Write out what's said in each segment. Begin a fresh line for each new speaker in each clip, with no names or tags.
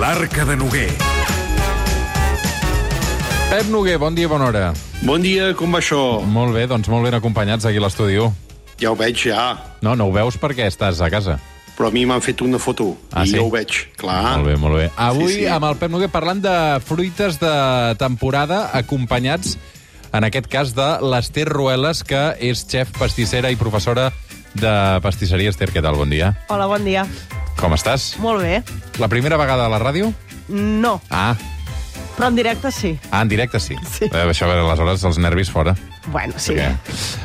L'arca de Noguer.
Pep Noguer, bon dia, bona hora.
Bon dia, com va això?
Molt bé, doncs molt ben acompanyats aquí a l'estudi. u.
Ja ho veig, ja.
No, no ho veus perquè estàs a casa.
Però a mi m'han fet una foto.
Ah,
I
sí?
ja ho veig, clar.
Molt bé, molt bé. Avui,
Ah. Sí, sí.
amb el Pep Noguer, parlant de fruites de temporada, acompanyats, en aquest cas, de l'Ester Ruelas, que és xef pastissera i professora de pastisseria. Ester, què tal? Bon dia.
Hola, bon dia.
Com estàs?
Molt bé.
La primera vegada a la ràdio?
No,
Ah,
però en directe sí.
ah en directe sí.
Sí.
Eh, això, aleshores, els nervis fora.
Bueno, sí.
Perquè-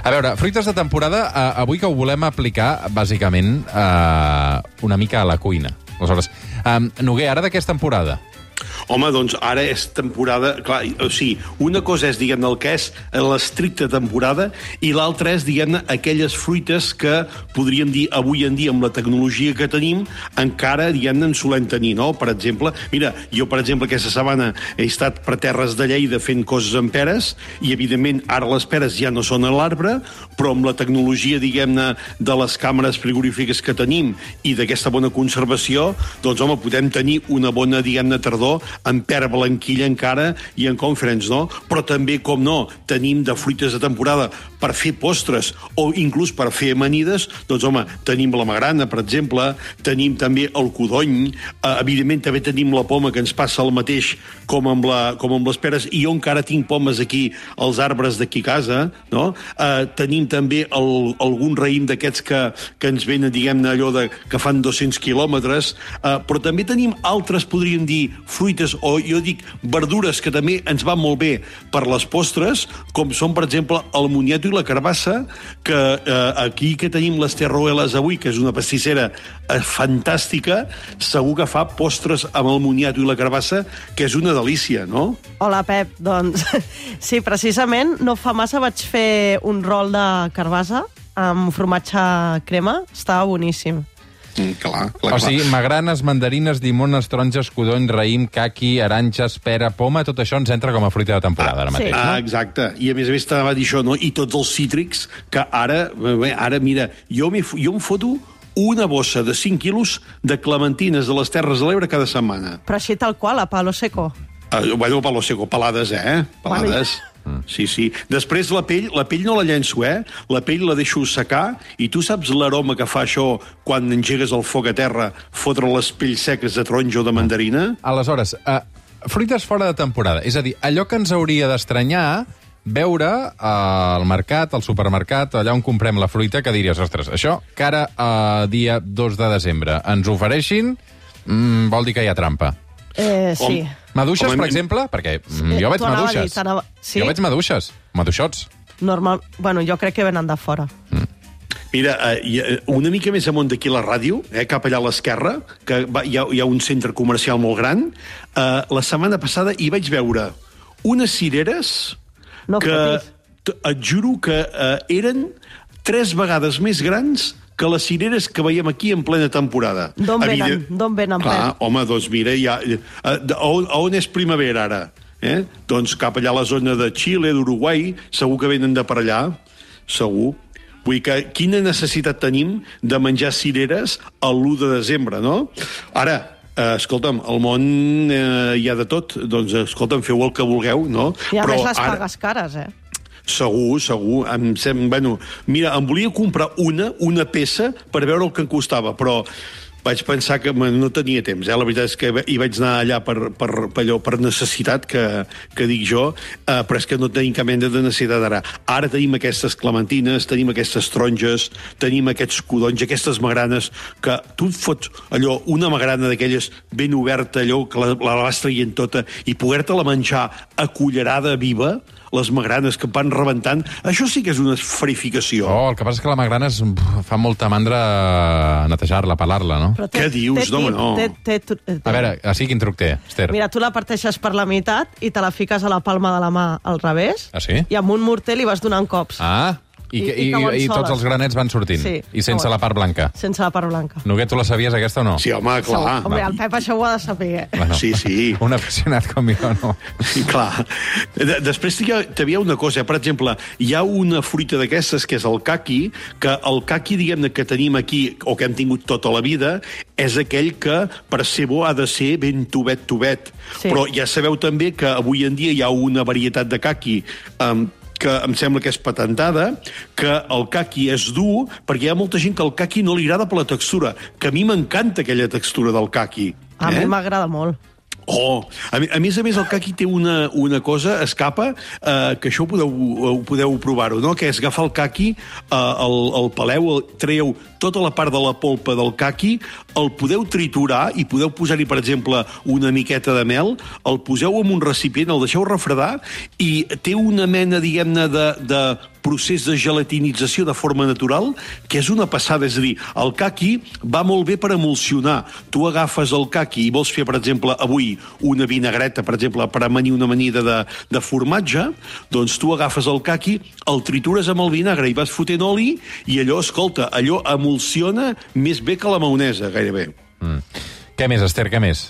A veure, fruites de temporada, eh, avui que ho volem aplicar, bàsicament, eh, una mica a la cuina. Aleshores, um, Noguer, ara d'aquesta temporada,
Home, doncs ara és temporada... Clar, o sigui, una cosa és, diguem-ne, el que és l'estricta temporada i l'altra és, diguem-ne, aquelles fruites que podríem dir avui en dia amb la tecnologia que tenim encara, diguem-ne, en solem tenir, no? Per exemple, mira, jo, per exemple, aquesta setmana he estat per terres de Lleida fent coses amb peres i, evidentment, ara les peres ja no són a l'arbre, però amb la tecnologia, diguem-ne, de les càmeres frigorífiques que tenim i d'aquesta bona conservació, doncs, home, podem tenir una bona, diguem-ne, tardor en pera blanquilla encara i en conference, no? Però també, com no, tenim de fruites de temporada per fer postres o inclús per fer amanides, doncs, home, tenim la magrana, per exemple, tenim també el codony, eh, evidentment també tenim la poma, que ens passa el mateix com amb, la, com amb les peres, i jo encara tinc pomes aquí, als arbres d'aquí a casa, no? Eh, tenim també el, algun raïm d'aquests que, que ens venen, diguem-ne, allò de, que fan 200 quilòmetres, eh, però també tenim altres, podríem dir, fruites o, jo dic, verdures que també ens van molt bé per les postres, com són, per exemple, el moniato i la carbassa, que eh, aquí que tenim les Terroeles avui, que és una pastissera eh, fantàstica, segur que fa postres amb el moniato i la carbassa, que és una delícia, no?
Hola, Pep. Doncs sí, precisament no fa massa vaig fer un rol de carbassa amb formatge crema. Estava boníssim.
Mm, clar,
o
clar,
sigui, magranes, mandarines, llimones, taronges, codony, raïm, caqui, aranxes, pera, poma, tot això ens entra com a fruita de temporada ara
sí.
mateix.
Ah, exacte. I a més a més t'anava a dir això, no? I tots els cítrics que ara... Bé, ara, mira, jo, m'hi fo- jo em foto una bossa de 5 quilos de clementines de les Terres de l'Ebre cada setmana.
Però així tal qual, a palo seco.
Uh, bueno, palo seco, pelades, eh? Pelades. Sí, sí. Després la pell, la pell no la llenço, eh? La pell la deixo secar i tu saps l'aroma que fa això quan engegues el foc a terra, fotre les pells seques de taronja o de mandarina?
Aleshores, eh, fruites fora de temporada. És a dir, allò que ens hauria d'estranyar veure eh, al mercat, al supermercat, allà on comprem la fruita, que diries, ostres, això que ara, eh, dia 2 de desembre, ens ofereixin, mm, vol dir que hi ha trampa.
Eh,
Hom,
sí.
Maduixes,
Com a
per
mi-
exemple? Perquè mm,
Eh,
jo veig
t'ho anava a dir,
maduixes.
t'anava- sí?
Jo veig maduixes. Maduixots.
Normal... Bueno, jo crec que venen de fora.
Mira, eh, hi ha- una mica més amunt d'aquí la ràdio, eh, cap allà a l'esquerra, que va, hi, ha, hi ha un centre comercial molt gran, eh, la setmana passada hi vaig veure unes cireres
No
que
fotis.
t- et juro que eh, eren tres vegades més grans que les cireres que veiem aquí en plena temporada.
D'on venen?
Evident-
D'on venen,
Clar,
Pep?
home, doncs mira, ja, eh, d- a, on, a on és primavera ara? Eh? Doncs cap allà a la zona de Xile, d'Uruguai, segur que venen de per allà, segur. Vull dir que quina necessitat tenim de menjar cireres l'1 de desembre, no? Ara, eh, escolta'm, al món eh, hi ha de tot, doncs escolta'm, feu el que vulgueu, no?
I a més les pagues cares, eh?
Segur, segur. Em sem... bueno, mira, em volia comprar una, una peça, per veure el que em costava, però vaig pensar que me- no tenia temps, eh? La veritat és que hi vaig anar allà per, per, per, allò, per necessitat, que, que dic jo, eh, però és que no tenim cap mena de necessitat ara. Ara tenim aquestes clementines, tenim aquestes taronges, tenim aquests codonys, aquestes magranes, que tu et fots allò, una magrana d'aquelles ben oberta, allò, que la, la vas traient tota, i poder-te-la menjar a cullerada viva, les magranes que van rebentant, això sí que és una esferificació.
Oh, el que passa és que la magrana es, pf, fa molta mandra netejar-la, pelar-la, no?
Però té-
Què dius?
té
No, home,
tip,
no.
Té, té, té,
A veure, així quin truc té, Esther?
Mira, tu la parteixes per la meitat i te la fiques a la palma de la mà al revés.
Ah, sí?
I amb un morter li vas donant cops.
Ah, i,
I-
i, i,
i cauen
i tots
soles.
els granets van sortint.
Sí,
I sense
cauen.
la part blanca.
Sense la part blanca.
Noguer, tu la sabies, aquesta, o no?
Sí, home, clar.
Segur.
Ah,
Home, el Pep això ho ha de saber. eh?
Bueno,
Sí, sí.
Un aficionat com jo, no.
Sí, clar. De Després hi ha- t'hi havia una cosa, eh? per exemple, hi ha una fruita d'aquestes que és el caqui, que el caqui, diguem-ne, que tenim aquí, o que hem tingut tota la vida, és aquell que per ser bo ha de ser ben tubet, tubet. Sí.
Sí.
Però ja sabeu també que avui en dia hi ha una varietat de caqui um, que em sembla que és patentada, que el caqui és dur, perquè hi ha molta gent que el caqui no li agrada per la textura, que a mi m'encanta aquella textura del caqui. eh?
A
Eh?
mi m'agrada molt.
Oh, a, mi- a més a més, el caqui té una, una cosa, escapa, eh, que això ho podeu, ho podeu provar-ho, no? que és agafar el caqui, eh, el, el peleu, el, treu tota la part de la polpa del caqui, el podeu triturar i podeu posar-hi, per exemple, una miqueta de mel, el poseu en un recipient, el deixeu refredar i té una mena, diguem-ne, de, de procés de gelatinització de forma natural, que és una passada. És a dir, el caqui va molt bé per emulsionar. Tu agafes el caqui i vols fer, per exemple, avui una vinagreta, per exemple, per amanir una amanida de, de formatge, doncs tu agafes el caqui, el tritures amb el vinagre i vas fotent oli i allò, escolta, allò emulsiona més bé que la maonesa, gairebé.
Què més, Esther, què més?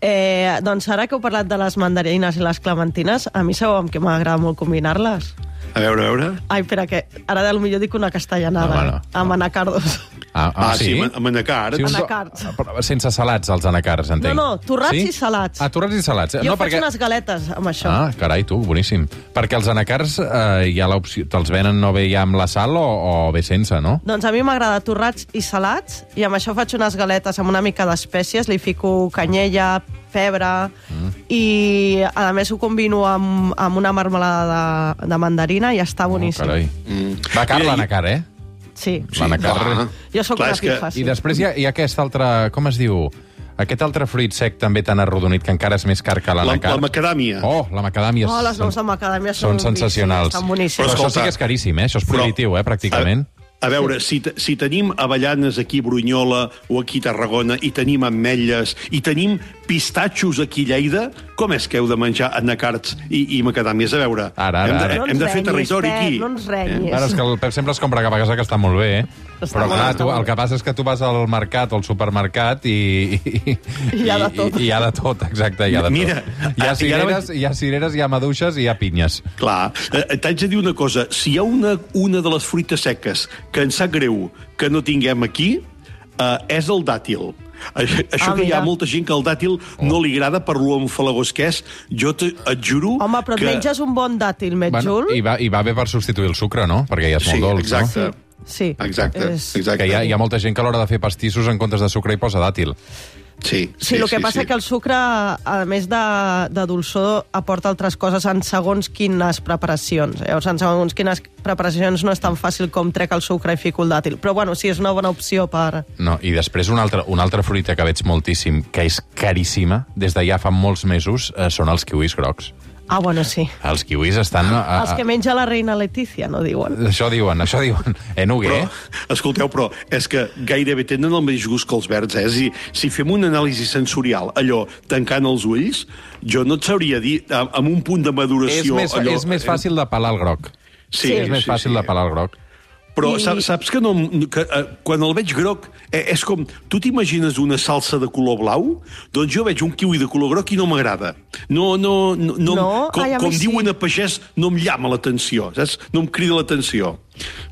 Eh, doncs ara que heu parlat de les mandarines i les clementines, a mi sabeu amb què m'agrada molt combinar-les?
A veure, a veure...
Ai, espera, que ara del millor dic una
No,
castellanada.
bueno.
Amb anacardos.
Ah,
sí, man- manacard.
uns-
Anacards.
Ah, Però Sense salats, els anacards, entenc.
No, no, torrats i salats.
Ah, torrats i salats.
Jo
no,
faig perquè... unes galetes amb això.
Ah, carai, tu, boníssim. Perquè els anacards eh, hi ha l'opció... Te'ls venen no bé ja amb la sal o, o bé sense, no?
Doncs a mi m'agrada torrats i salats, i amb això faig unes galetes amb una mica d'espècies, li fico canyella, pebre, mm. i a més ho combino amb, amb una marmelada de, de mandarina i està boníssim.
Oh, Carai.
Mm.
Va car
Mira, i-
l'anacard, eh?
sí.
Sí, L'anacard.
Jo sóc
Clar,
una
és que-
pifa, sí.
I després hi ha, hi ha aquest altre... Com es diu? Aquest altre fruit sec també tan arrodonit que encara és més car que
La,
l'anacard.
la macadàmia.
Oh, la macadàmia.
Oh, les nous de macadàmia són
són sensacionals.
boníssimes, estan boníssimes.
Però,
Però
això
escolta-
sí que és caríssim, eh? Això és prohibitiu, eh, pràcticament.
A, a veure, si, te- si tenim avellanes aquí a Brunyola o aquí a Tarragona, i tenim ametlles, i tenim pistatxos aquí a Lleida, com és que heu de menjar anacards i, i macadàmies? A veure,
Ara, ara,
hem,
ara.
de,
No ens
hem de fer
renyis,
territori
Pep,
aquí.
no ens renyis.
Eh, Ara, és que el Pep sempre es compra cap a casa, que està molt bé, eh?
Està
Però,
molt
clar, tu,
bé, està molt
el
bé.
que passa és que tu vas al mercat o al supermercat i... I,
hi ha de tot.
I, i hi ha de tot, exacte, hi ha de
Mira,
tot. Hi ha
ah, i ara
cireres, hi ha, cireres, hi ha maduixes i hi ha pinyes.
Clar, eh, t'haig de dir una cosa. Si hi ha una, una de les fruites seques que ens sap greu que no tinguem aquí, eh, és el dàtil. Això, això que hi
Ah, mira.
ha molta gent que el dàtil
Oh.
no li agrada per lo enfalagós que és. Jo te, et juro
Home, però et
que...
menges un bon dàtil, metjul.
i, va, I va bé per substituir el sucre, no? Perquè ja és
Sí,
molt dolç, no?
exacte.
Sí.
Exacte,
És...
exacte.
Que hi ha, hi ha molta gent que a l'hora de fer pastissos en comptes de sucre hi posa dàtil.
Sí,
Sí, el que passa sí. que el sucre, a més de, de dolçor, aporta altres coses en segons quines preparacions. Llavors, en segons quines preparacions no és tan fàcil com trec el sucre i fico el dàtil. Però, bueno, sí, és una bona opció per...
No, i després una altra, una altra fruita que veig moltíssim, que és caríssima, des de ja fa molts mesos, eh, són els kiwis grocs.
Ah, bueno, sí.
Els kiwis estan... A, a,
Ah, Els que menja la reina Letícia, no diuen.
Això diuen, això diuen. Enugue,
Però,
eh?
escolteu, però és que gairebé tenen el mateix gust que els verds, eh? És a dir, si fem una anàlisi sensorial, allò, tancant els ulls, jo no et sabria dir, a- amb un punt de
És
maduració...
més,
allò, eh,
és més fàcil de pelar el groc.
Sí,
és més fàcil de pelar el groc.
Però
I-
I... saps, saps que, no, que eh, quan el veig groc, eh, és com... Tu t'imagines una salsa de color blau? Doncs jo veig un kiwi de color groc i no m'agrada. No, no, no, no,
No?
com,
Ai, a mi
com
sí.
diuen a pagès, no em llama l'atenció, saps? No em crida l'atenció.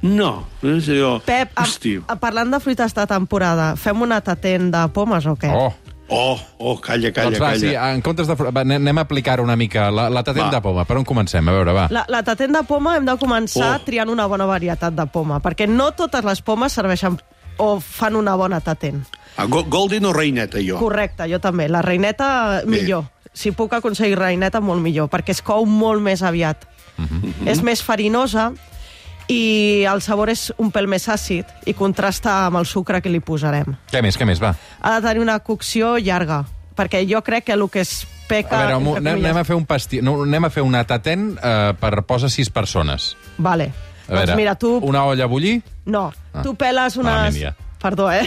No, és allò...
Pep, a,
Hosti.
a, parlant de fruites de temporada, fem una tatent de pomes o què?
Oh,
Oh, oh, calla, calla,
doncs va,
calla.
sí, en comptes de... fr- Va, anem- anem a aplicar una mica la, la tatent
Va.
de poma. Per on comencem? A veure, va.
La, la tatent de poma hem de començar oh.
Oh.
triant una bona varietat de poma, perquè no totes les pomes serveixen o fan una bona tatent.
Ah, go- Golden o reineta, jo.
Correcte, jo també. La reineta, millor. Si puc aconseguir reineta, molt millor, perquè es cou molt més aviat.
Mhm.
És més farinosa i el sabor és un pèl més àcid i contrasta amb el sucre que li posarem.
Què més, què més, va?
Ha de tenir una cocció llarga, perquè jo crec que el que es peca...
A veure, un mo-
entre
anem,
cometes-
anem a fer un pasti... No, anem a fer una tatent eh, per posa sis persones.
Vale.
A veure,
doncs mira, tu...
una olla a bullir...
No,
Ah.
tu peles unes...
Malament, ja.
Perdó, eh?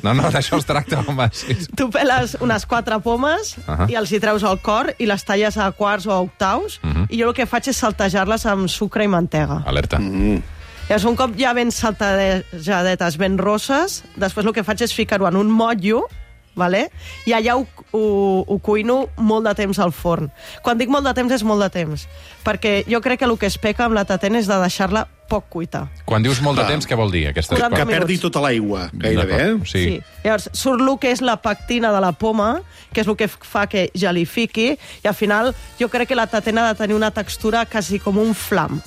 No, no, d'això es tracta, home. Sí, sí.
Tu peles unes quatre pomes uh
Ahà.
-huh. i els hi treus el cor i les talles a quarts o a octaus uh -huh. i jo el que faig és saltejar-les amb sucre i mantega.
Alerta.
Mm-hmm.
Llavors, un cop ja ben saltejadetes, ben rosses, després el que faig és ficar-ho en un motllo vale? i allà ho, ho, ho cuino molt de temps al forn. Quan dic molt de temps, és molt de temps, perquè jo crec que el que es peca amb la tatent és de deixar-la poc cuita.
Quan dius molt de
Clar.
temps, què vol dir? Aquestes
40
Que
coses?
minuts.
perdi tota l'aigua, Ah. gairebé, eh?
D'acord, Sí.
Sí. Llavors, surt el que és la pectina de la poma, que és el que fa que gelifiqui, i al final jo crec que la tatena ha de tenir una textura quasi com un flam.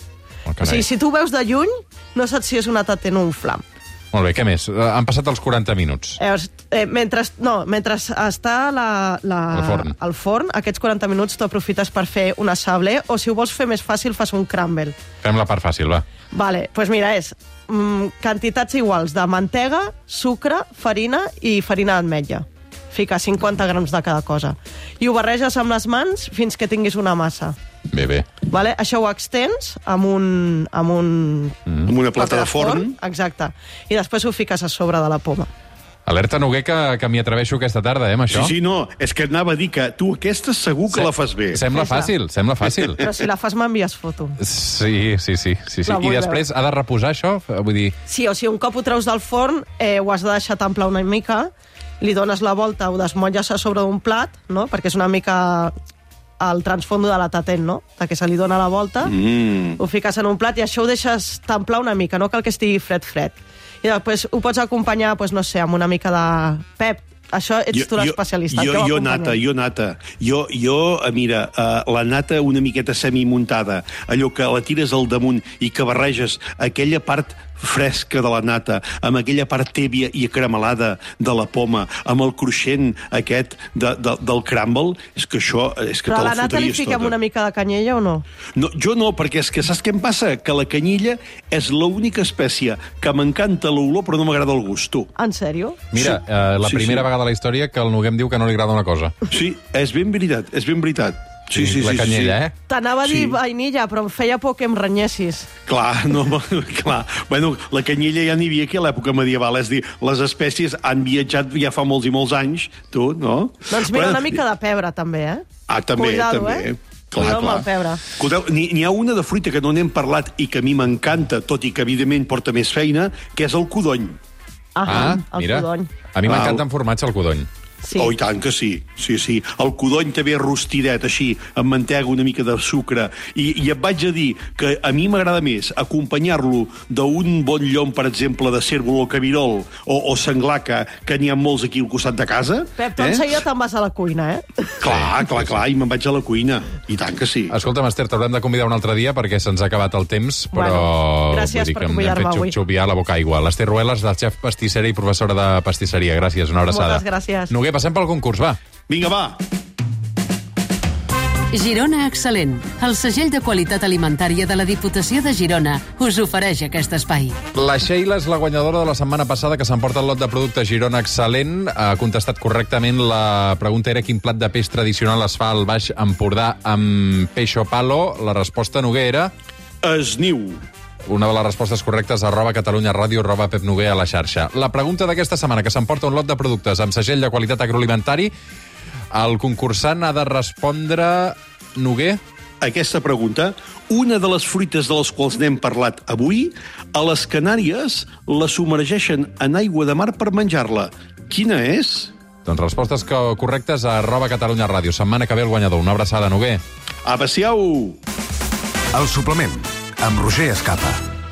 Oh,
o sigui,
carai.
si tu ho veus de lluny, no saps si és una tatena o un flam.
Molt bé, què més? Eh, Han passat els 40 minuts.
Llavors, eh, mentre, no, mentre està la, la,
Al forn.
al forn, aquests 40 minuts tu aprofites per fer una sable, o si ho vols fer més fàcil, fas un crumble.
Fem la part fàcil, va.
Vale, doncs pues mira, és mm, quantitats iguals de mantega, sucre, farina i farina d'ametlla. Fica 50 grams de cada cosa. I ho barreges amb les mans fins que tinguis una massa.
Bé, bé.
Vale? Això ho extens amb un, amb un
Mm.
Amb una plata de forn.
Exacte. I després ho fiques a sobre de la poma.
Alerta, Noguer, que, que m'hi atreveixo aquesta tarda, eh, amb
Sí,
això.
sí, no, és que anava a dir que tu aquesta segur que la fas bé.
Sembla
Fes-la.
fàcil, sembla fàcil.
Però si la fas m'envies foto.
Sí, sí, sí. sí, sí.
La
I
vull
després ha de reposar això? Vull dir,
Sí, o sigui, un cop ho treus del forn, eh, ho has de deixar t'amplar una mica, li dones la volta, ho desmotlles a sobre d'un plat, no? perquè és una mica el transfondo de la tatent, no? De que se li dona la volta, mm. ho fiques en un plat i això ho deixes t'amplar una mica, no cal que estigui fred, fred. I després ho pots acompanyar, doncs, no sé, amb una mica de pep. Això ets tu l'especialista.
Jo,
què ho
jo
acompanyem?
nata, jo nata. Jo, jo eh, mira, uh, la nata una miqueta semimuntada, allò que la tires al damunt i que barreges aquella part fresca de la nata, amb aquella part tèbia i acremalada de la poma, amb el cruixent aquest de, de, del crumble, és que això eh, és que
Però a
te la
la nata li
fotries
fiquem
tota.
una mica de canyella o no?
No, jo no, perquè és que saps què em passa? Que la canyilla és l'única espècie que m'encanta l'olor però no m'agrada el gust, tu.
En sèrio?
mira,
Sí.
eh, la
Sí,
primera
sí.
vegada a la història que el Noguer em diu que no li agrada una cosa.
Sí, és ben veritat, és ben veritat. Sí, sí, sí.
La
sí,
canyella,
sí.
eh?
T'anava a dir
Sí.
vainilla, però em feia por que em renyessis.
Clar, no, clar. Bueno, la canyella ja n'hi havia aquí a l'època medieval, és a dir, les espècies han viatjat ja fa molts i molts anys, tu, no?
Doncs mira, una mica de pebre, també, eh?
Ah, també,
Cuidado,
també.
Eh? Cuidado amb el pebre.
Escolteu, n'hi n'hi ha una de fruita que no n'hem parlat i que a mi m'encanta, tot i que evidentment porta més feina, que és el codony.
Ah, el
mira.
codony.
A mi
Val.
m'encanta en formatge el codony.
Sí.
Oh, i tant que sí, sí, sí. El codony també rostidet, així, amb mantega, una mica de sucre. I, i et vaig a dir que a mi m'agrada més acompanyar-lo d'un bon llom, per exemple, de cérvol o cabirol o, o senglar, que, que n'hi ha molts aquí al costat de casa.
Pep, tu eh? enseguida te'n vas a la cuina, eh?
Clar, clar, clar, i me'n vaig a la cuina. I tant que sí.
Escolta'm, Esther, t'haurem de convidar un altre dia perquè se'ns ha acabat el temps, però...
Bueno, gràcies
vull dir
per
que em-
convidar-me
Hem
avui.
fet xup-xup ja la boca aigua. L'Esther Ruelas, del xef pastissera i professora de pastisseria. Gràcies, una abraçada.
Moltes gràcies.
Noguer, passem pel concurs, va.
Vinga, va.
Girona Excel·lent, el segell de qualitat alimentària de la Diputació de Girona, us ofereix aquest espai.
La Sheila és la guanyadora de la setmana passada que s'emporta el lot de productes Girona Excel·lent. Ha contestat correctament. La pregunta era quin plat de peix tradicional es fa al Baix Empordà amb peix o palo. La resposta, Noguer, era
Es niu.
una de les respostes correctes arroba Catalunya Ràdio, arroba Pep Noguer a la xarxa. La pregunta d'aquesta setmana, que s'emporta un lot de productes amb segell de qualitat agroalimentari, el concursant ha de respondre... Noguer?
Aquesta pregunta, una de les fruites de les quals n'hem parlat avui, a les Canàries la submergeixen en aigua de mar per menjar-la. Quina és?
Doncs respostes co- correctes a arroba Catalunya Ràdio. Setmana que ve el guanyador. Una abraçada, Noguer.
Abaciau!
El suplement, amb Roger Escapa.